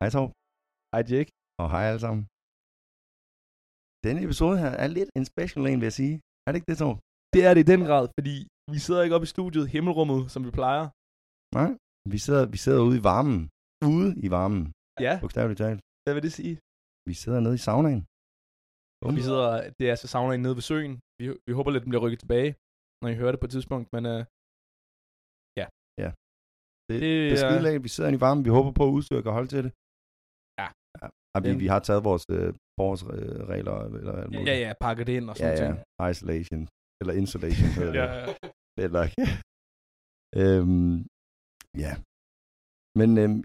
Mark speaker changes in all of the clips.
Speaker 1: Hej Torb. Hej Jake. Og hej alle sammen. Denne episode her er lidt en special en, vil jeg sige. Er det ikke det, Torb?
Speaker 2: Det er det i den grad, fordi vi sidder ikke oppe i studiet, himmelrummet, som vi plejer.
Speaker 1: Nej. Vi sidder, vi sidder ude i varmen. Ude i varmen,
Speaker 2: Ja,
Speaker 1: bogstaveligt talt.
Speaker 2: hvad vil det sige?
Speaker 1: Vi sidder nede i saunaen.
Speaker 2: Og vi sidder, det er så saunaen nede ved søen. Vi, vi håber lidt, den bliver rykket tilbage, når I hører det på et tidspunkt, men øh, ja.
Speaker 1: Ja.
Speaker 2: Det,
Speaker 1: Det er skide lækkert. Vi sidder inde i varmen. Vi håber på, at udstyret kan holde til det.
Speaker 2: øh, Ja.
Speaker 1: ja vi,
Speaker 2: Dem-
Speaker 1: vi har taget vores øh, borgersregler. Eller, alt muligt.
Speaker 2: Ja, ja, pakke det ind og
Speaker 1: ja,
Speaker 2: sådan
Speaker 1: ja.
Speaker 2: noget.
Speaker 1: Isolation. Eller insulation. hedder det.
Speaker 2: ja.
Speaker 1: Det er nok. øhm, ja. Men øhm,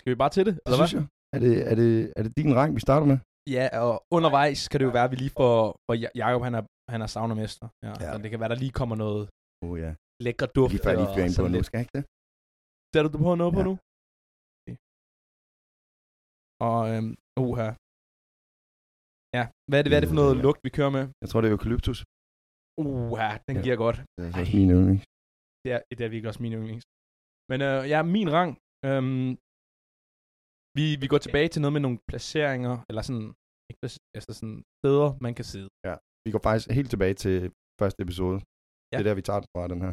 Speaker 2: Skal vi bare til det,
Speaker 1: det
Speaker 2: eller hvad?
Speaker 1: synes jeg. Er det, er, det, er det din rang, vi starter med?
Speaker 2: Ja, og undervejs kan det jo være, at vi lige får, for Jacob han er, han er saunamester. Ja,
Speaker 1: Ja.
Speaker 2: ja. Så det kan være, der lige kommer noget
Speaker 1: Åh oh, ja.
Speaker 2: lækker duft.
Speaker 1: Lige før jeg lige kører ind på
Speaker 2: sådan
Speaker 1: nu,
Speaker 2: lidt.
Speaker 1: skal jeg ikke det?
Speaker 2: Sætter du på noget på
Speaker 1: Ja.
Speaker 2: nu? Okay. Og øhm, uha. Ja, hvad er det, hvad er det for noget
Speaker 1: Ja.
Speaker 2: lugt, vi kører med?
Speaker 1: Jeg tror, det er eukalyptus.
Speaker 2: Uha, den
Speaker 1: Ja.
Speaker 2: giver godt.
Speaker 1: Det er altså også
Speaker 2: Ej.
Speaker 1: min yndling.
Speaker 2: Det er, det er virkelig også min yndlings. Men øh, ja, min rang. Øhm, vi, vi går tilbage til noget med nogle placeringer, eller sådan, ikke, placer- altså sådan steder, man kan sidde.
Speaker 1: Vi går faktisk helt tilbage til første episode.
Speaker 2: Ja.
Speaker 1: Det er der, vi tager den fra, den her.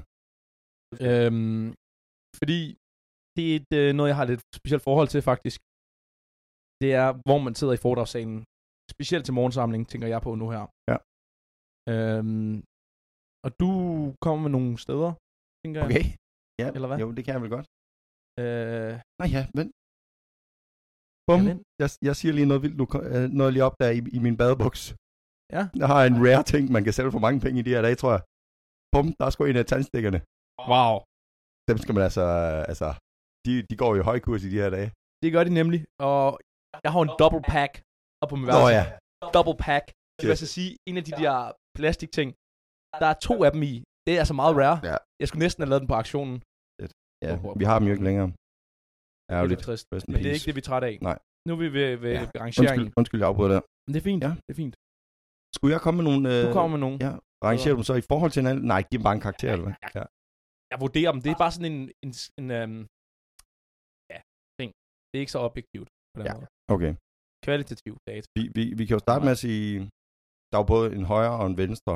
Speaker 2: Øhm, fordi det er et, øh, noget, jeg har et lidt specielt forhold til, faktisk. Det er, hvor man sidder i foredragssalen. Specielt til morgensamling, tænker jeg på nu her.
Speaker 1: Ja.
Speaker 2: Øhm, og du kommer med nogle steder, tænker jeg.
Speaker 1: Okay. Ja,
Speaker 2: Eller hvad?
Speaker 1: Jo, det kan jeg vel godt.
Speaker 2: Øh,
Speaker 1: Nej, ja, vent. Bum.
Speaker 2: Ja, vent.
Speaker 1: Jeg, jeg siger lige noget vildt, nu, ko- øh, noget jeg lige opdager i, i min badebuks.
Speaker 2: Ja.
Speaker 1: Jeg har en rare ting, man kan sælge for mange penge i de her dage, tror jeg. Bum, der er sgu en af tandstikkerne.
Speaker 2: wow.
Speaker 1: Dem skal man altså, altså, de, de går jo i høj kurs i de her dage.
Speaker 2: Det gør de nemlig. Og jeg har en double pack op på min
Speaker 1: Nå
Speaker 2: værelse.
Speaker 1: ja,
Speaker 2: Double pack. Det
Speaker 1: Shit.
Speaker 2: vil altså sige, en af de der plastikting, der er to af dem i. Det er altså meget rare.
Speaker 1: Ja.
Speaker 2: Jeg skulle næsten have lavet den på aktionen.
Speaker 1: ja. Vi har dem jo ikke længere.
Speaker 2: Det
Speaker 1: Ærgerligt.
Speaker 2: er trist.
Speaker 1: Rest in
Speaker 2: Men det er
Speaker 1: peace.
Speaker 2: ikke det, vi er trætte af.
Speaker 1: Nej.
Speaker 2: Nu er vi ved, ved,
Speaker 1: Ja.
Speaker 2: ja. ved
Speaker 1: Undskyld,
Speaker 2: rangeringen.
Speaker 1: undskyld, jeg afbryder der.
Speaker 2: Men det er fint.
Speaker 1: Ja.
Speaker 2: Ja. Det er fint.
Speaker 1: Skulle jeg komme med nogle... Øh,
Speaker 2: Du kommer med nogen.
Speaker 1: ja. Rangerer du dem så i forhold til hinanden? Nej, giv dem bare en karakter, eller hvad? Ja.
Speaker 2: Jeg vurderer dem. Det er bare sådan en, en, en um, ja, ting. Det er ikke så objektivt på den
Speaker 1: Ja.
Speaker 2: ja. måde.
Speaker 1: Okay.
Speaker 2: Kvalitativ data.
Speaker 1: Vi, vi, vi kan jo starte med at sige, der er jo både en højre og en venstre.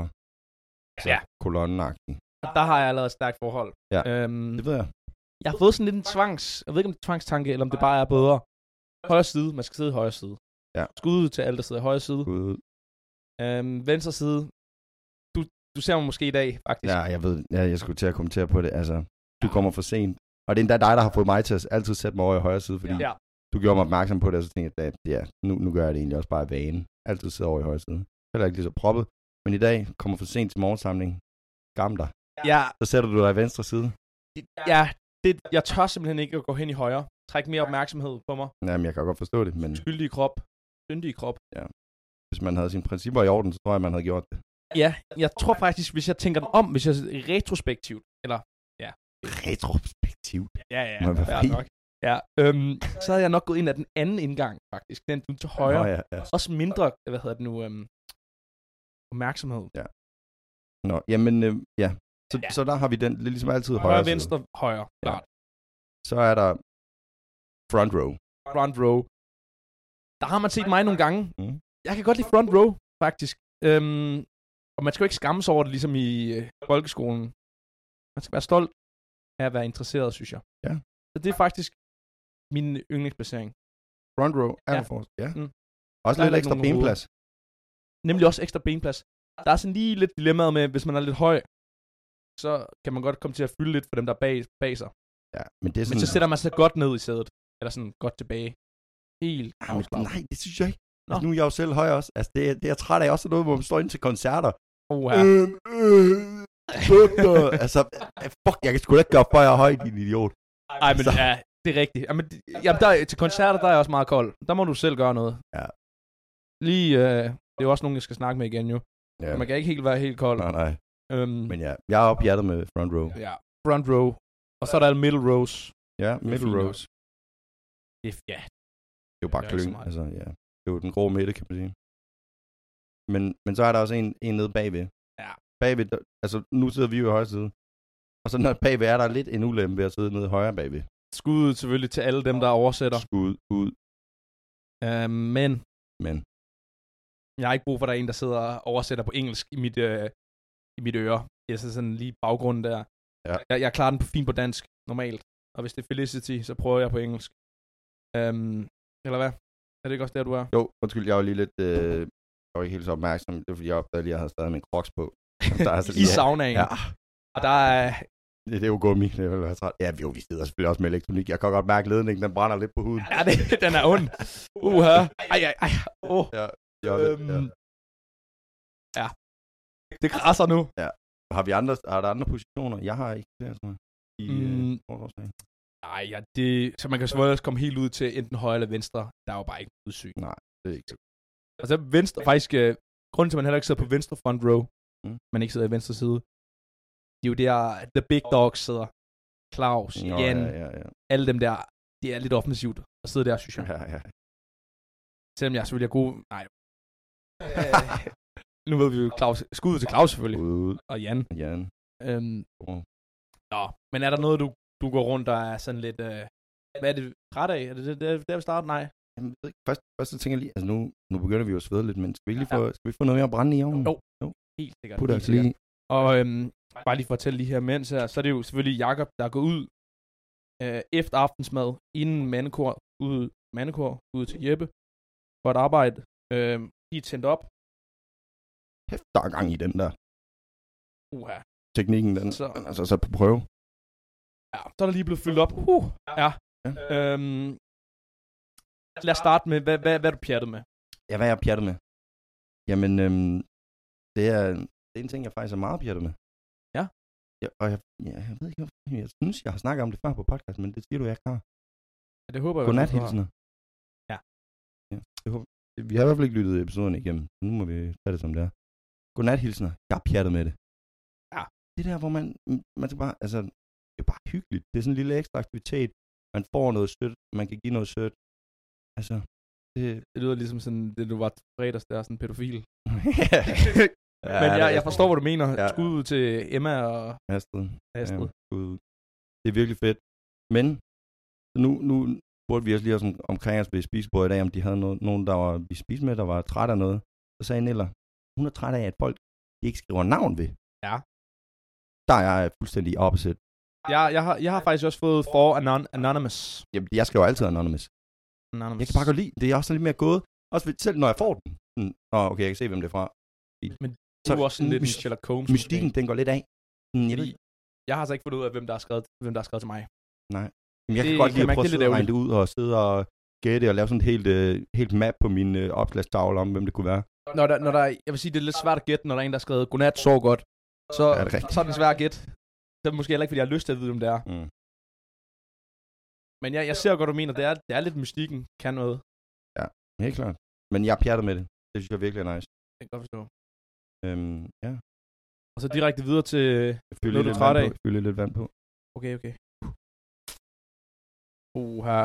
Speaker 1: Altså,
Speaker 2: Ja.
Speaker 1: kolonnenagtig.
Speaker 2: Og der har jeg allerede et stærkt forhold.
Speaker 1: Ja.
Speaker 2: Øhm,
Speaker 1: Det ved jeg.
Speaker 2: jeg har fået sådan lidt en tvangs... Jeg ved ikke, om det er tvangstanke, eller om det bare er bedre. Højre side. Man skal sidde i højre side.
Speaker 1: Ja.
Speaker 2: Skud ud til alle, der sidder i højre side.
Speaker 1: Gud.
Speaker 2: Øhm, venstre side. Du, du ser mig måske i dag, faktisk.
Speaker 1: Ja, jeg ved, ja, jeg skulle til at kommentere på det. Altså, du kommer for sent. Og det er endda dig, der har fået mig til at altid sætte mig over i højre side, fordi
Speaker 2: Ja.
Speaker 1: du gjorde mig opmærksom på det, og så tænkte jeg, at ja, nu, nu gør jeg det egentlig også bare af vane. Altid sidder over i højre side. Heller ikke lige så proppet. Men i dag kommer for sent til morgensamling. Gam dig.
Speaker 2: ja.
Speaker 1: Så sætter du dig i venstre side.
Speaker 2: ja, det, jeg tør simpelthen ikke at gå hen i højre. Træk mere opmærksomhed på mig.
Speaker 1: Jamen, jeg kan godt forstå det, men
Speaker 2: Skyldig krop. Syndig krop.
Speaker 1: hvis man havde sine principper i orden, så tror jeg, man havde gjort det.
Speaker 2: Ja, jeg tror faktisk, hvis jeg tænker den om, hvis jeg retrospektivt, eller...
Speaker 1: Retrospektivt.
Speaker 2: Ja, ja,
Speaker 1: Må jeg være fri?
Speaker 2: fair nok. Ja, øhm, så havde jeg nok gået ind af den anden indgang, faktisk. Den du til højre.
Speaker 1: Nå, ja, ja.
Speaker 2: Også mindre, hvad hedder det nu, øhm, opmærksomhed.
Speaker 1: Nå, jamen, øh, ja. Så, ja.
Speaker 2: Ja.
Speaker 1: så der har vi den, det er ligesom altid højre,
Speaker 2: Højre,
Speaker 1: side.
Speaker 2: venstre, højre. Klart.
Speaker 1: Så er der front row.
Speaker 2: Front row. Der har man set mig nogle gange.
Speaker 1: Mm.
Speaker 2: Jeg kan godt lide front row, faktisk. Øhm, og man skal jo ikke skamme sig over det, ligesom i øh, folkeskolen. Man skal være stolt af at være interesseret, synes jeg.
Speaker 1: Ja.
Speaker 2: Så det er faktisk min yndlingsplacering.
Speaker 1: Front row,
Speaker 2: Ja.
Speaker 1: ja. Forrest. ja.
Speaker 2: Mm.
Speaker 1: Også
Speaker 2: Der er
Speaker 1: lidt
Speaker 2: lidt
Speaker 1: ekstra
Speaker 2: nogle
Speaker 1: benplads.
Speaker 2: Nemlig også ekstra benplads. Der er sådan lige lidt dilemmaet med, hvis man er lidt høj, så kan man godt komme til at fylde lidt for dem, der er bag, bag sig.
Speaker 1: Ja, men det er
Speaker 2: Men
Speaker 1: sådan...
Speaker 2: så sætter man sig godt ned i sædet. Eller sådan godt tilbage. Helt
Speaker 1: Ah, men,
Speaker 2: afslappet.
Speaker 1: nej, det synes jeg ikke.
Speaker 2: Nå.
Speaker 1: Altså, nu er jeg jo selv høj også. Altså, det, er, det er jeg træt af også er noget, hvor man står ind til koncerter.
Speaker 2: Oha.
Speaker 1: Ja. Øhm, øh, bøtter. altså, øh, fuck, jeg kan sgu da ikke gøre for, jeg er høj, din idiot.
Speaker 2: Ej, men
Speaker 1: Så-
Speaker 2: ja, det er rigtigt. Jamen, det- jamen der, til koncerter, der er jeg også meget kold. Der må du selv gøre noget.
Speaker 1: Ja.
Speaker 2: Lige, øh, det er jo også nogen, jeg skal snakke med igen jo.
Speaker 1: Ja.
Speaker 2: Ja. Man kan ikke helt være helt kold.
Speaker 1: Nej, nej.
Speaker 2: Øhm,
Speaker 1: Men ja, jeg er ophjertet med front row.
Speaker 2: ja, front row. Og så er der middle rows.
Speaker 1: Ja,
Speaker 2: er
Speaker 1: middle
Speaker 2: fint nok.
Speaker 1: rows.
Speaker 2: Det, er- ja,
Speaker 1: Det er jo bare
Speaker 2: Det er ikke
Speaker 1: kløn.
Speaker 2: så meget.
Speaker 1: Altså, ja. Det er jo den grå midte, kan man sige. Men, men så er der også en, en nede bagved.
Speaker 2: Ja.
Speaker 1: Bagved, der- altså nu sidder vi jo i højre side. Og så når bagved er der lidt en ulempe ved at sidde nede højre bagved.
Speaker 2: Skud selvfølgelig til alle dem, der oversætter.
Speaker 1: Skud ud,
Speaker 2: Uh, men
Speaker 1: men
Speaker 2: jeg har ikke brug for, at der er en, der sidder og oversætter på engelsk i mit, øh, i mit øre. Jeg sidder sådan lige i baggrunden der.
Speaker 1: Ja.
Speaker 2: Jeg, jeg klarer den på fint på dansk, normalt. Og hvis det er Felicity, så prøver jeg på engelsk. Um, eller hvad? Er det ikke også der, du er?
Speaker 1: jo, undskyld, jeg var lige lidt, øh, jeg var ikke helt så opmærksom, det var fordi, jeg opdagede lige, at jeg havde stadig min crocs på. Der er altså
Speaker 2: I
Speaker 1: lige-
Speaker 2: saunaen.
Speaker 1: Ja.
Speaker 2: Og der er...
Speaker 1: Det, det er jo gummi, det vil være træt. Ja, jo, vi sidder selvfølgelig også med elektronik. Jeg kan godt mærke, at ledningen den brænder lidt på huden.
Speaker 2: Ja, det, den er ond. Uha. Ej, ej, ej. Oh.
Speaker 1: Jo, det-
Speaker 2: Øhm,
Speaker 1: ja.
Speaker 2: ja. Det krasser nu.
Speaker 1: Har vi andre, har der andre positioner? Jeg har ikke det, tror jeg. I, mm.
Speaker 2: Mm.
Speaker 1: øh,
Speaker 2: Nej, ja, det, så man kan selvfølgelig også komme helt ud til enten højre eller venstre. Der er jo bare ikke udsyn.
Speaker 1: det er ikke så.
Speaker 2: Altså venstre, faktisk, øh, grunden til, at man heller ikke sidder på venstre front row,
Speaker 1: Mm.
Speaker 2: mm. man ikke sidder i venstre side, det er jo der, the big dogs sidder. Claus, Nå,
Speaker 1: Nå,
Speaker 2: Jan,
Speaker 1: ja,
Speaker 2: ja, ja.
Speaker 1: ja, ja.
Speaker 2: alle dem der, det er lidt offensivt at sidde der, synes jeg. Ja.
Speaker 1: ja, ja.
Speaker 2: Selvom jeg selvfølgelig er god. Nej. Øh, nu ved vi jo Claus. Skud til Claus selvfølgelig.
Speaker 1: Ud,
Speaker 2: Og Jan.
Speaker 1: Jan.
Speaker 2: Øhm,
Speaker 1: Wow.
Speaker 2: Nå, men er der noget, du, du går rundt og er sådan lidt... Øh, hvad er det træt af? Er det det, det, der vi starter? Nej.
Speaker 1: Jamen, jeg ved ikke, først, først så tænker jeg lige, altså nu, nu begynder vi jo at svede lidt, men skal vi, lige få, skal vi få noget mere brænde i ovnen?
Speaker 2: Mm. Jo. Helt sikkert.
Speaker 1: Put
Speaker 2: helt
Speaker 1: os lige.
Speaker 2: Og øhm, bare lige for at fortælle lige her mens her, så er det jo selvfølgelig Jakob der går ud øh, efter aftensmad, inden mandekor ud, mandekor ud til Jeppe for at arbejde. Øh, de er tændt op.
Speaker 1: Kæft, der er gang i den der
Speaker 2: Uha.
Speaker 1: teknikken, den,
Speaker 2: Så-
Speaker 1: den er så sat på prøve.
Speaker 2: Ja, så er der lige blevet fyldt op. Uh, ja.
Speaker 1: Ja.
Speaker 2: Øhm, lad os starte med, hvad, hvad, hvad er du pjattet med?
Speaker 1: Ja, hvad er jeg pjattet med? Jamen, øhm, det, er, det er en ting, jeg faktisk er meget pjattet med.
Speaker 2: Ja.
Speaker 1: ja og jeg, ja, jeg ved ikke, hvorfor- jeg synes, jeg har snakket om det før på podcast, men det siger du, jeg ikke har.
Speaker 2: Ja, det håber jeg.
Speaker 1: Godnat, hilsener.
Speaker 2: Ja.
Speaker 1: ja det håber. Vi har i hvert fald ikke lyttet episoden igennem. Nu må vi tage det, som det er. Godnat, hilsener. Jeg er pjattet med det.
Speaker 2: Ja.
Speaker 1: Det der, hvor man, man skal bare, altså, det er bare hyggeligt. Det er sådan en lille ekstra aktivitet. Man får noget sødt, man kan give noget sødt. Altså, det...
Speaker 2: Det lyder ligesom sådan, det du var fredags, der er sådan en pædofil.
Speaker 1: ja,
Speaker 2: Men
Speaker 1: det
Speaker 2: jeg,
Speaker 1: er-
Speaker 2: jeg forstår, hvad du mener.
Speaker 1: Ja.
Speaker 2: Ja. Skud ud til Emma og
Speaker 1: Astrid.
Speaker 2: Astrid.
Speaker 1: Ja, Gud. Det er virkelig fedt. Men så nu, nu spurgte vi også lige om, omkring os ved spisebordet i dag, om de havde noget, nogen, der var, vi spiste med, der var træt af noget. Så sagde Niller, hun er træt af, at folk de ikke skriver navn ved.
Speaker 2: Ja.
Speaker 1: Der er jeg fuldstændig opposite.
Speaker 2: Jeg, jeg, har, jeg har faktisk også fået for anon- Anonymous.
Speaker 1: Jamen, jeg skriver altid anonymous.
Speaker 2: Anonymous.
Speaker 1: Jeg kan bare godt lide, det er også lidt mere gået. Også ved- selv når jeg får den. Sådan, Nå, okay, jeg kan se, hvem det er fra.
Speaker 2: Du er også sådan lidt en
Speaker 1: Myst-
Speaker 2: Sherlock Holmes.
Speaker 1: Mystikken, den går lidt af. Sådan, Jeg, ved,
Speaker 2: Fordi jeg har altså ikke fundet ud af, hvem der har skrevet, hvem der har skrevet til mig.
Speaker 1: Jamen, jeg kan
Speaker 2: Det
Speaker 1: godt
Speaker 2: kan
Speaker 1: lide
Speaker 2: jeg
Speaker 1: at
Speaker 2: mærke,
Speaker 1: prøve at
Speaker 2: det er lidt
Speaker 1: sidde og regne det ud og sidde og gætte og lave sådan et helt, øh, helt map på min øh, opslagstavle om, hvem det kunne være.
Speaker 2: Når der, når der, jeg vil sige, det er lidt svært at gætte, når der er en, der har skrevet, godnat, sov godt. Så,
Speaker 1: Ja, det er rigtigt.
Speaker 2: så er den svær at gætte. Det er måske heller ikke, fordi jeg har lyst til at vide, hvem det er.
Speaker 1: Mm.
Speaker 2: Men jeg, jeg ser godt, du mener, det er, det er lidt mystikken, kan noget.
Speaker 1: Helt klart. Men jeg er pjattet med det. Det synes jeg virkelig er nice.
Speaker 2: Det kan jeg godt forstå.
Speaker 1: Øhm, ja.
Speaker 2: Og så direkte videre til...
Speaker 1: Fylde lidt,
Speaker 2: Noget,
Speaker 1: lidt
Speaker 2: du er træt
Speaker 1: vand på.
Speaker 2: af?
Speaker 1: Fylde lidt vand på.
Speaker 2: Okay, okay. Oha.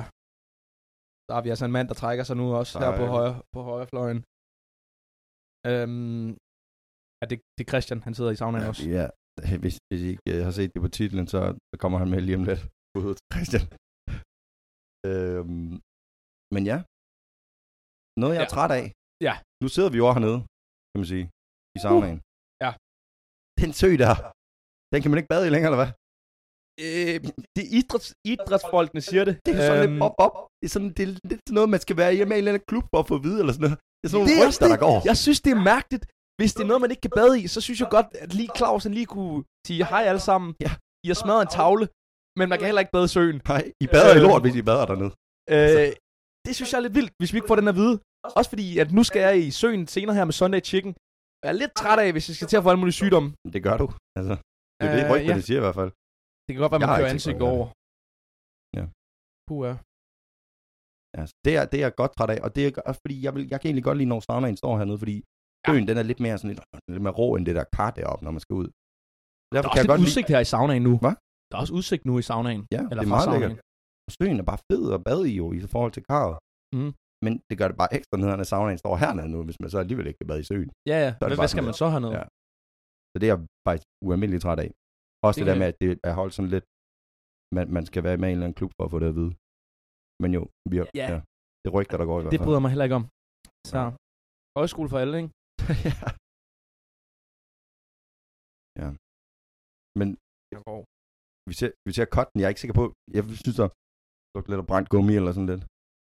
Speaker 2: Der har vi altså en mand, der trækker sig nu også her på
Speaker 1: Dejligt.
Speaker 2: højre, på højre fløjen. Øhm, ja, det, det er Christian, han sidder i saunaen også.
Speaker 1: Ja, ja. Hvis, hvis I ikke øh, har set det på titlen, så så kommer han med lige om lidt. Ud til Christian. øhm, men ja. Noget, jeg er
Speaker 2: Ja.
Speaker 1: træt af.
Speaker 2: Ja. Uh.
Speaker 1: Nu sidder vi jo over hernede, kan man sige. I saunaen.
Speaker 2: Ja.
Speaker 1: Den sø der. Den kan man ikke bade i længere, eller hvad? Øh,
Speaker 2: Det er idræts, idrætsfolkene siger det.
Speaker 1: Det er sådan øhm, lidt op, op. Det er, sådan, det er lidt sådan noget, man skal være hjemme i en eller anden klub for at få at vide, eller sådan noget. Det er sådan nogle
Speaker 2: Det er også
Speaker 1: rygter, der går.
Speaker 2: Jeg synes, det er mærkeligt. Hvis det er noget, man ikke kan bade i, så synes jeg godt, at lige Claus han lige kunne sige hej alle sammen.
Speaker 1: Ja.
Speaker 2: I har smadret en tavle, men man kan heller ikke bade i søen.
Speaker 1: Nej, I bader i
Speaker 2: Øh,
Speaker 1: lort, hvis I bader dernede. Altså.
Speaker 2: Øh, det synes jeg er lidt vildt, hvis vi ikke får den at vide. Også fordi, at nu skal jeg i søen senere her med Sunday Chicken. Jeg er lidt træt af, hvis jeg skal til at få alle mulige sygdomme.
Speaker 1: Det gør du. Altså, det er øh, det,
Speaker 2: Øh,
Speaker 1: rygterne
Speaker 2: ja.
Speaker 1: ja. siger i hvert fald.
Speaker 2: Det kan godt være,
Speaker 1: Jeg
Speaker 2: man
Speaker 1: har
Speaker 2: kører
Speaker 1: ikke tænkt
Speaker 2: ansigt
Speaker 1: over det.
Speaker 2: over.
Speaker 1: Ja.
Speaker 2: Puh, ja.
Speaker 1: Altså, det, er, det er jeg godt træt af, og det er også fordi, jeg, vil, jeg kan egentlig godt lide, når saunaen står hernede, fordi
Speaker 2: Ja.
Speaker 1: øen, den er lidt mere, sådan lidt, lidt mere rå, end det der kar deroppe, når man skal ud.
Speaker 2: Der
Speaker 1: Derfor
Speaker 2: er
Speaker 1: kan
Speaker 2: også
Speaker 1: jeg godt
Speaker 2: lidt
Speaker 1: lide,
Speaker 2: udsigt her i saunaen nu.
Speaker 1: Hvad?
Speaker 2: Der er også udsigt nu i saunaen.
Speaker 1: ja,
Speaker 2: Eller
Speaker 1: det er
Speaker 2: fra
Speaker 1: meget lækkert.
Speaker 2: saunaen.
Speaker 1: Og Søen er bare fed at bade i jo, i forhold til karret.
Speaker 2: Mhm.
Speaker 1: Men det gør det bare ekstra nederen, at saunaen står hernede nu, hvis man så alligevel ikke kan bade i søen.
Speaker 2: Ja, ja.
Speaker 1: det
Speaker 2: Hvad,
Speaker 1: bare
Speaker 2: hvad skal
Speaker 1: sådan
Speaker 2: man så hernede?
Speaker 1: Ja. Så det er jeg faktisk ualmindeligt træt af. Også det,
Speaker 2: Det
Speaker 1: det der
Speaker 2: kan
Speaker 1: med, at det er holdt sådan lidt man, man skal være med i en eller anden klub for at få det at vide. Men jo, vi har,
Speaker 2: Ja.
Speaker 1: det er rygter, der går i hvert
Speaker 2: Det
Speaker 1: fald.
Speaker 2: bryder jeg mig heller ikke om. Så
Speaker 1: Nej.
Speaker 2: højskole for alle, ikke?
Speaker 1: ja. ja. Men
Speaker 2: Jeg går.
Speaker 1: hvis jeg, hvis jeg cut den, jeg er ikke sikker på, jeg synes, der lugter lidt af brændt gummi eller sådan lidt.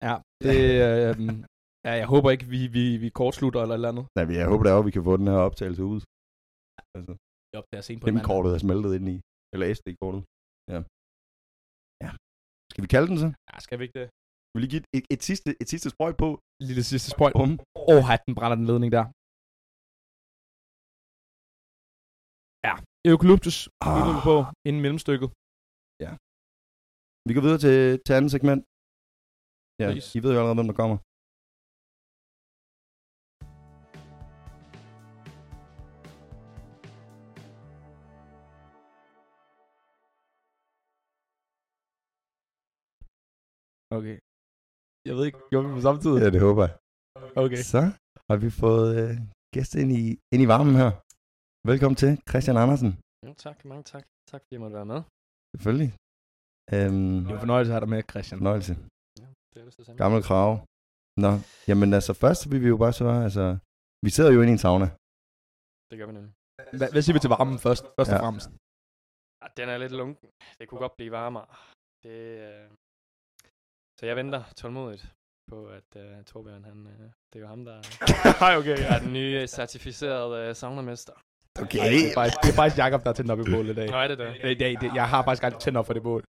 Speaker 2: Ja, det, øh, ja, jeg håber ikke, vi, vi, vi kortslutter eller et eller andet.
Speaker 1: Nej, men jeg håber da også, vi kan få den her optagelse ud. Altså,
Speaker 2: Jeg opdager sent på en mandag.
Speaker 1: kortet er smeltet ind i. Eller SD-kortet. Ja. Ja. Skal vi kalde den så?
Speaker 2: Ja, skal vi ikke det?
Speaker 1: Skal vi lige give et, et, et sidste, et sidste sprøjt på?
Speaker 2: Lille sidste spøjt.
Speaker 1: Bum.
Speaker 2: Åh, oh, den brænder den ledning der. Ja, eukalyptus. Ah. vi på inden mellemstykket.
Speaker 1: Vi går videre til, til andet segment. Ja,
Speaker 2: Præcis.
Speaker 1: I ved jo allerede, hvem der kommer.
Speaker 2: Okay. Jeg ved ikke, gjorde vi det på samme tid?
Speaker 1: det håber jeg.
Speaker 2: Okay.
Speaker 1: Så har vi fået øh, gæster ind i, ind i varmen her. Velkommen til Christian Andersen.
Speaker 3: Jo, tak. Mange tak. Tak fordi jeg måtte være med.
Speaker 1: Selvfølgelig. Øhm,
Speaker 2: Det er en fornøjelse at have dig med, Christian.
Speaker 1: fornøjelse.
Speaker 3: Ja, det er vist det samme.
Speaker 1: Gammel krav. Nå, jamen altså først vil vi jo bare svare, altså, vi sidder jo inde i en sauna.
Speaker 3: Det gør vi nemlig.
Speaker 2: Hva, hvad siger vi til varmen først, først og
Speaker 1: Ja.
Speaker 2: fremmest?
Speaker 3: Ah, den er lidt lunken. Det kunne godt blive varmere. Det, øh... Så jeg venter tålmodigt på, at øh, Torbjørn, han, øh, det er jo ham, der
Speaker 2: Nej, okay.
Speaker 3: er den nye øh, certificerede øh, saunamester.
Speaker 2: Ej, det, er faktisk, det er faktisk Jacob, der har tændt op i bålet i dag.
Speaker 3: Nå, er det det?
Speaker 2: I dag det, jeg har faktisk aldrig tændt op for det bål.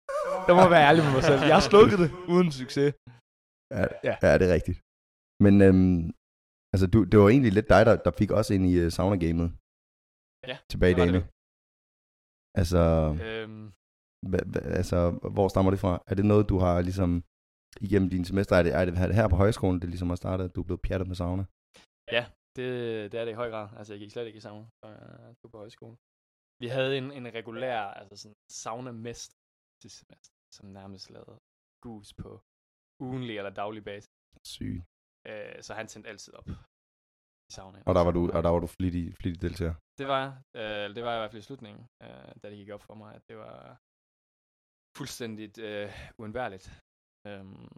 Speaker 2: Jeg må være ærlig med mig selv. Jeg har slukket det uden succes.
Speaker 1: Ja,
Speaker 2: Ja.
Speaker 1: ja, det er rigtigt. Men øhm, altså, du, det var egentlig lidt dig, der, der fik os ind i uh, sauna-gamet.
Speaker 3: Ja,
Speaker 1: Tilbage i
Speaker 3: det var det
Speaker 1: dagene. Altså,
Speaker 2: Øh.
Speaker 3: Øhm,
Speaker 1: hva, hva, altså, hvor stammer det fra? Er det noget, du har ligesom igennem dine semester? Er det, er det her- her på højskolen, det ligesom har startet, at du er blevet pjattet med sauna?
Speaker 3: det, det er det i høj grad. Altså, jeg gik slet ikke i sauna, før jeg tog på højskole. Vi havde en, en regulær altså sådan, saunamester til semester, som nærmest lavede gus på ugenlig eller daglig basis.
Speaker 1: Sygt.
Speaker 3: Øh, så han tændte altid op i saunaen.
Speaker 1: Og der var du, og der var du flittig, flittig deltager.
Speaker 3: Det var, jeg. øh, eller det var jeg i hvert fald i slutningen, øh, da det gik op for mig, at det var fuldstændigt øh, uundværligt. Øhm,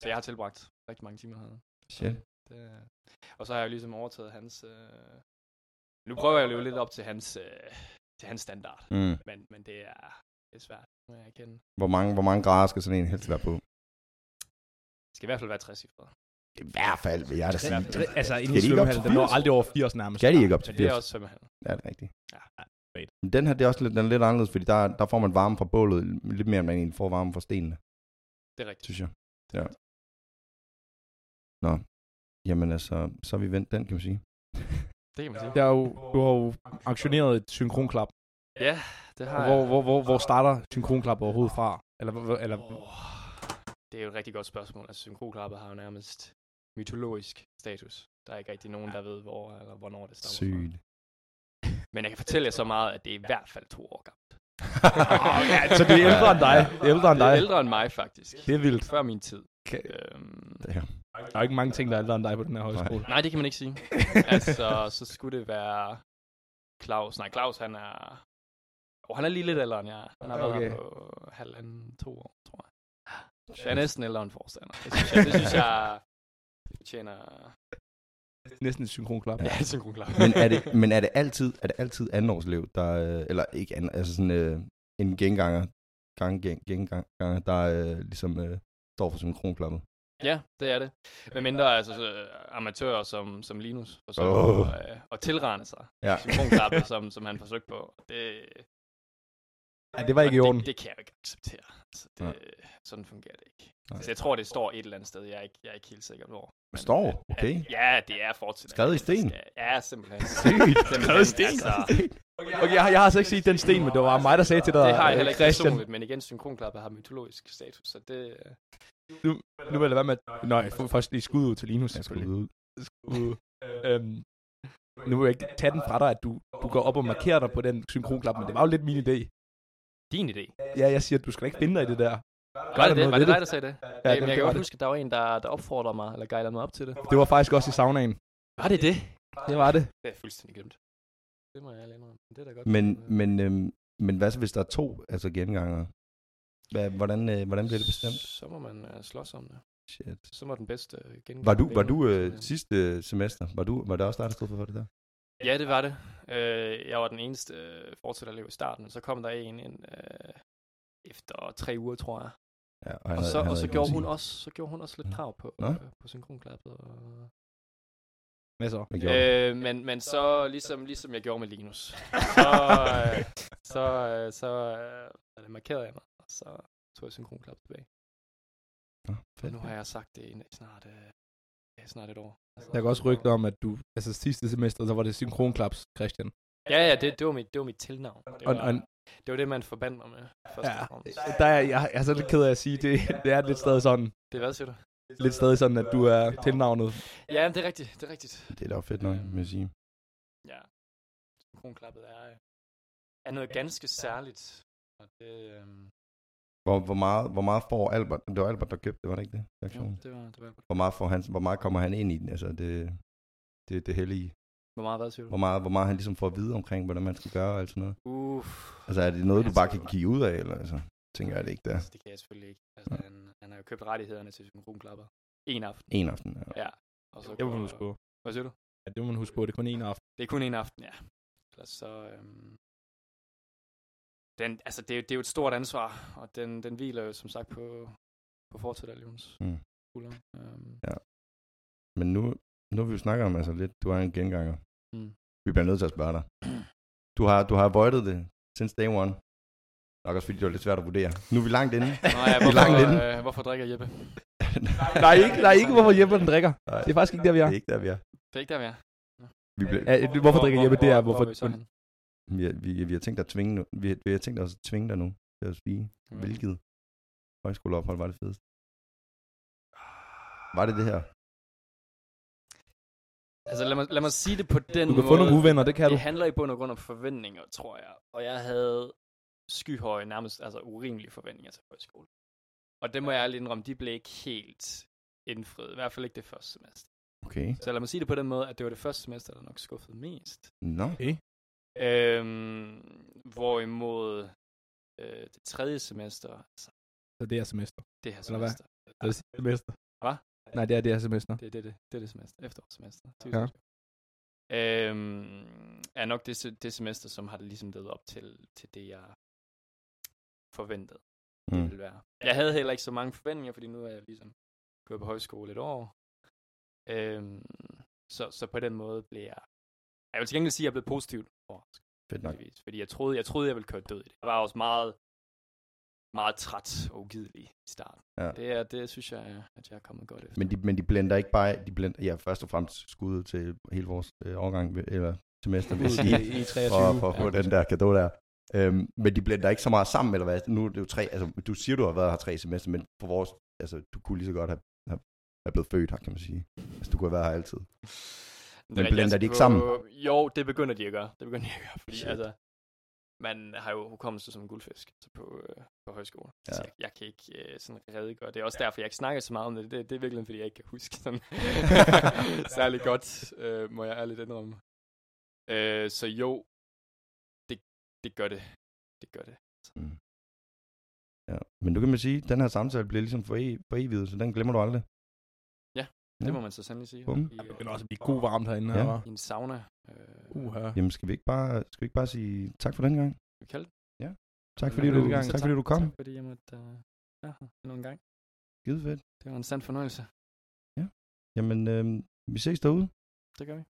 Speaker 3: så jeg har tilbragt rigtig mange timer her.
Speaker 1: Shit.
Speaker 3: Det, øh, og så har jeg jo ligesom overtaget hans... Øh, nu prøver jeg at leve lidt op til hans, øh, til hans standard,
Speaker 1: Mm.
Speaker 3: men, men det er, det er svært, må jeg erkende.
Speaker 1: Hvor, mange, hvor mange grader skal sådan en helst være på?
Speaker 3: Det skal i hvert fald være 60 cifre.
Speaker 1: I hvert fald, vil jeg da sige.
Speaker 2: Altså,
Speaker 1: Skal
Speaker 2: inden
Speaker 1: de ikke op til
Speaker 2: svømmehallen, den når
Speaker 1: 80?
Speaker 2: aldrig over 80 nærmest.
Speaker 1: Skal de ikke op til
Speaker 3: Men det er
Speaker 1: 80?
Speaker 3: også svømmehallen.
Speaker 1: Ja, det er rigtigt.
Speaker 3: Ja.
Speaker 2: fedt.
Speaker 1: Men den her, det er også lidt, den er lidt anderledes, fordi der, der får man varme fra bålet, lidt mere end man egentlig får varme fra stenene,
Speaker 3: Det er rigtigt.
Speaker 1: synes jeg. Ja. Nå, jamen altså, så har vi vendt den, kan man sige.
Speaker 3: Det kan man sige.
Speaker 2: Der er jo, du har jo aktioneret et synkronklap.
Speaker 3: Ja, det har
Speaker 2: Hvor,
Speaker 3: jeg.
Speaker 2: hvor, hvor, hvor starter synkronklap overhovedet fra? Eller, hvor- eller
Speaker 3: Oh, det er jo et rigtig godt spørgsmål. Altså, synkroklappet har jo nærmest mytologisk status. Der er ikke rigtig nogen, der ved, hvor eller hvornår det stammer fra.
Speaker 1: Sygt.
Speaker 3: Men jeg kan fortælle jer så meget, at det er i hvert fald to år gammelt.
Speaker 2: ja, Ah, så det er ældre end dig. Det er ældre end
Speaker 3: Det
Speaker 2: dig.
Speaker 3: er ældre end mig, faktisk.
Speaker 2: Det er vildt.
Speaker 3: Før min tid.
Speaker 2: Kan-
Speaker 3: Øhm,
Speaker 1: Det her.
Speaker 2: Der er ikke mange ting, der er ældre end dig på den her højskole.
Speaker 3: nej, det kan man ikke sige. Altså, så skulle det være Claus. Nej, Claus, han er... Oh, han er lige lidt ældre end jeg. er. Han har været
Speaker 2: Okay.
Speaker 3: her på halvanden, to år, tror jeg.
Speaker 1: Ah,
Speaker 3: Jeg er næsten ældre end forstander. Det synes jeg, det synes jeg tjener
Speaker 2: Næsten et synkronklap.
Speaker 3: Ja, synkronklap.
Speaker 1: Men er det, men er det altid, er det altid andenårslev, der, øh, eller ikke anden, altså sådan øh, en genganger, gang, gang, genganger, der øh, ligesom øh, står for synkronklappet?
Speaker 3: ja, det er det. Med mindre altså, så, amatører som, som Linus forsøger
Speaker 1: Åh.
Speaker 3: oh. øh, at tilrane sig
Speaker 1: Ja.
Speaker 3: synkronklappet, som, som han forsøgte på. Det,
Speaker 2: Ja, det var ikke i
Speaker 3: og
Speaker 2: orden.
Speaker 3: Det, det kan jeg jo ikke acceptere. Altså, det, sådan fungerer det ikke.
Speaker 1: Nej.
Speaker 3: Altså, jeg tror, det står et eller andet sted. Jeg er ikke, jeg er ikke helt sikker, hvor. Men,
Speaker 1: Står?
Speaker 3: at- at-
Speaker 1: Okay.
Speaker 3: Ja, det er fortsat.
Speaker 1: Skrevet i sten?
Speaker 3: Ja, simpelthen.
Speaker 1: Sygt.
Speaker 3: Simpelthen, altså,
Speaker 2: Okay, jeg, har- jeg har altså ikke set den sten, men det var mig, der sagde til dig,
Speaker 3: det har
Speaker 1: øh,
Speaker 3: jeg heller ikke
Speaker 2: Christian,
Speaker 3: personligt, men igen, synkronklappet har mytologisk status, så det... øh,
Speaker 2: nu vil jeg lade være med at... Nej, f- først lige skud ud til Linus, selvfølgelig.
Speaker 1: ud.
Speaker 2: Skud. Øhm, nu vil jeg ikke tage den fra dig, at du, du går op og markerer dig på den synkronklap, men det var jo lidt min idé.
Speaker 3: Din idé.
Speaker 2: Ja, jeg siger, at du skal da ikke finde dig i det der.
Speaker 3: Var
Speaker 2: der
Speaker 3: det det?
Speaker 2: noget
Speaker 3: Var
Speaker 2: ved
Speaker 3: det dig, der sagde det? Ja,
Speaker 2: det
Speaker 3: Jamen, jeg kan
Speaker 2: var
Speaker 3: godt
Speaker 2: det.
Speaker 3: huske, at der var en, der, der opfordrede mig, eller guidede mig op til det.
Speaker 2: Det var faktisk også i saunaen.
Speaker 3: Var det det?
Speaker 2: Det var det.
Speaker 3: Det er fuldstændig glemt. Det må jeg ærligt indrømme. Det er da godt.
Speaker 1: Men, men, øhm, men hvad så, hvis der er to altså genganger? Hvad, hvordan, øh, hvordan bliver det bestemt?
Speaker 3: Så må man øh, slås om det.
Speaker 1: Shit.
Speaker 3: Så må den bedste øh, gennemgå.
Speaker 1: Var du, var
Speaker 3: vinde.
Speaker 1: du
Speaker 3: Så,
Speaker 1: øh, sidste semester, var, du, var det også dig, der stod for det der?
Speaker 3: Ja, det var det. Øh, jeg var den eneste øh, fortsætterelev i starten, så kom der en ind øh, efter tre uger, tror jeg.
Speaker 1: Ja, og, han
Speaker 3: Og
Speaker 1: havde-
Speaker 3: så,
Speaker 1: han
Speaker 3: og
Speaker 1: havde
Speaker 3: så,
Speaker 1: ikke
Speaker 3: gjorde
Speaker 1: musik.
Speaker 3: hun også, så gjorde hun også lidt
Speaker 1: Nå.
Speaker 3: krav på,
Speaker 1: Nå.
Speaker 3: øh, på synkronklappet. Og...
Speaker 2: Hvad så?
Speaker 1: Hvad gjorde
Speaker 3: Øh, men, men så, ligesom, ligesom jeg gjorde med Linus, så, øh, så, øh, så øh, er det markeret af mig, og så tog jeg synkronklappet tilbage.
Speaker 1: Nå,
Speaker 3: Og
Speaker 1: fedt.
Speaker 3: nu har jeg sagt det i na- snart, øh, ja, snart et år.
Speaker 2: Der går også rygter om, at du, altså sidste semester, så var det synkronklaps, Christian.
Speaker 3: Ja, ja, det, det, var mit, det var mit tilnavn. Det
Speaker 2: Og,
Speaker 3: var,
Speaker 2: og,
Speaker 3: det, var det man forbandt mig med. Først
Speaker 2: ja,
Speaker 3: og fremmest.
Speaker 2: der er, jeg, jeg er så lidt ked af at sige, det, det er lidt stadig sådan,
Speaker 3: Det er hvad, siger du?
Speaker 2: lidt stadig sådan, at du er tilnavnet.
Speaker 3: Ja, men det er rigtigt, det er rigtigt.
Speaker 1: Det er da jo fedt nok, vil jeg sige.
Speaker 3: Ja. Kronklappet er, øh, er noget ganske særligt. Og det, øhm,
Speaker 1: Hvor, hvor, meget, hvor meget får Albert, det var Albert, der købte det, var det ikke det?
Speaker 3: jo,
Speaker 1: Reaktionen.
Speaker 3: det var, det var godt.
Speaker 1: Hvor meget, får han, hvor meget kommer han ind i den, altså det, det, det hellige?
Speaker 3: Hvor meget hvad, siger du?
Speaker 1: Hvor meget, hvor meget han ligesom får at vide omkring, hvordan man skal gøre og alt sådan noget?
Speaker 3: Uff.
Speaker 1: Altså er det noget, du bare kan kigge ud af, eller altså? Tænker jeg det ikke, der.
Speaker 3: Altså, det kan jeg selvfølgelig ikke. Altså,
Speaker 1: Nej.
Speaker 3: han, han har jo købt rettighederne til synkronklapper. En aften.
Speaker 1: En aften. Ja.
Speaker 3: Ja. Og så
Speaker 2: Det må
Speaker 3: går-
Speaker 2: man huske på.
Speaker 3: Hvad siger du?
Speaker 2: Ja, det må man huske på, det er kun en aften.
Speaker 3: Det er kun en aften, ja. Ellers så... Øhm, den, altså, det, er jo- det er jo et stort ansvar, og den, den hviler jo som sagt på, på fortsætterlivens
Speaker 1: Mm.
Speaker 3: skulder. Øhm,
Speaker 1: Men nu, nu har vi jo snakket om, altså lidt, du er en genganger.
Speaker 3: Mm.
Speaker 1: Vi bliver nødt til at spørge dig. Du har, du har avoidet det since day one. Nok også fordi det var lidt svært at vurdere. Nu er vi langt inde.
Speaker 3: Nå ja,
Speaker 1: Vi er langt inde.
Speaker 3: hvorfor, øh, hvorfor drikker Jeppe?
Speaker 2: Nej, ikke, nej, ikke hvorfor Jeppe den drikker.
Speaker 1: Nej,
Speaker 2: Det er faktisk ikke der, vi
Speaker 1: det
Speaker 2: er.
Speaker 1: er ikke der, vi er.
Speaker 3: Det er ikke der, vi er.
Speaker 1: Vi, bliver,
Speaker 2: Ja, hvorfor drikker Jeppe? Det er, hvorfor...
Speaker 3: er vi så henne?
Speaker 1: vi, har- vi, vi, har tænkt dig at tvinge, nu- vi, har- vi har tænkt os at tvinge dig nu til at sige,
Speaker 3: Mm.
Speaker 1: hvilket højskoleophold var det fedeste. Var det det her?
Speaker 3: Altså, lad mig, lad mig sige det på den
Speaker 2: Du kan
Speaker 3: måde.
Speaker 2: få nogle uvenner, det kan du.
Speaker 3: Det handler i bund og grund om forventninger, tror jeg. Og jeg havde skyhøje, nærmest altså urimelige forventninger til højskole. Og det må jeg ærligt indrømme, de blev ikke helt indfriet. I hvert fald ikke det første semester.
Speaker 1: Okay.
Speaker 3: Så lad mig sige det på den måde, at det var det første semester, der nok skuffede mest.
Speaker 1: Nå.
Speaker 3: Øhm, hvorimod øh, det tredje semester, altså
Speaker 2: Så det er semester.
Speaker 3: det her
Speaker 2: Eller hvad?
Speaker 3: semester,
Speaker 2: Så det er sidste semester.
Speaker 3: Hva?
Speaker 2: Nej, det er det her semester.
Speaker 3: det, er det, det, det er det semester, efterårssemester,
Speaker 2: Ja.
Speaker 3: ja. øhm, er nok det, se- det semester, som har det ligesom levet op til, til det, jeg forventede. det
Speaker 1: Mm.
Speaker 3: ville være. Jeg havde heller ikke så mange forventninger, fordi nu er jeg ligesom gået på højskole et år. Øhm, så, så på den måde blev jeg... Jeg vil til gengæld sige, at jeg blev positivt overrasket.
Speaker 1: Fedt nok.
Speaker 3: heldigvis, Fordi jeg troede, jeg troede, jeg ville køre død i det. Jeg var også meget, meget træt og ugidelig i starten.
Speaker 1: Ja.
Speaker 3: Det, er, det synes jeg, at jeg er kommet godt efter.
Speaker 1: Men de, men de blender ikke bare, de blender, ja, først og fremmest skuddet til hele vores øh, årgang, vil- eller semester, vil jeg
Speaker 2: Ud
Speaker 1: sige,
Speaker 2: i- i 23.
Speaker 1: for, for at få
Speaker 3: Ja.
Speaker 1: den der gave der. Øhm, men de blender ikke så meget sammen, eller hvad? Nu er det jo tre, altså du siger, du har været her tre semester, men for vores, altså du kunne lige så godt have, have, have blevet født her, kan man sige. Altså du kunne have været her altid.
Speaker 3: Men
Speaker 1: Men blander de ikke sammen?
Speaker 3: Jo, det begynder de at gøre. Det begynder de at gøre, fordi
Speaker 1: Shit.
Speaker 3: Shit. altså, man har jo hukommelse som en guldfisk altså på, øh, på højskole. Ja.
Speaker 1: Ja.
Speaker 3: Så jeg, jeg kan ikke øh, sådan redegøre. Det er også derfor, jeg ikke snakker så meget om det. Det, det er virkelig, fordi jeg ikke kan huske sådan særlig godt, øh, må jeg ærligt indrømme. Øh, så jo, det, det gør det. Det gør det.
Speaker 1: Mm. Ja. Men nu kan man sige, at den her samtale bliver ligesom for, e- for evigt, så den glemmer du aldrig. Ja.
Speaker 3: Det må man så sandelig sige.
Speaker 1: Bum.
Speaker 3: I,
Speaker 2: Det
Speaker 3: øh,
Speaker 2: begynder også at blive god varmt herinde.
Speaker 1: Ja.
Speaker 2: Ja.
Speaker 3: I en sauna. Øh,
Speaker 2: Uha.
Speaker 1: Jamen skal vi ikke bare, skal vi ikke bare sige tak for den gang?
Speaker 3: vi kalder det.
Speaker 1: Tak
Speaker 2: Ja,
Speaker 1: fordi,
Speaker 2: det er
Speaker 1: du,
Speaker 2: det gang.
Speaker 1: tak, fordi du kom.
Speaker 3: Tak fordi jeg måtte øh, være her endnu en gang.
Speaker 1: Skide fedt.
Speaker 3: Det var en sand fornøjelse.
Speaker 1: Jamen, øhm, vi ses derude.
Speaker 3: Det gør vi.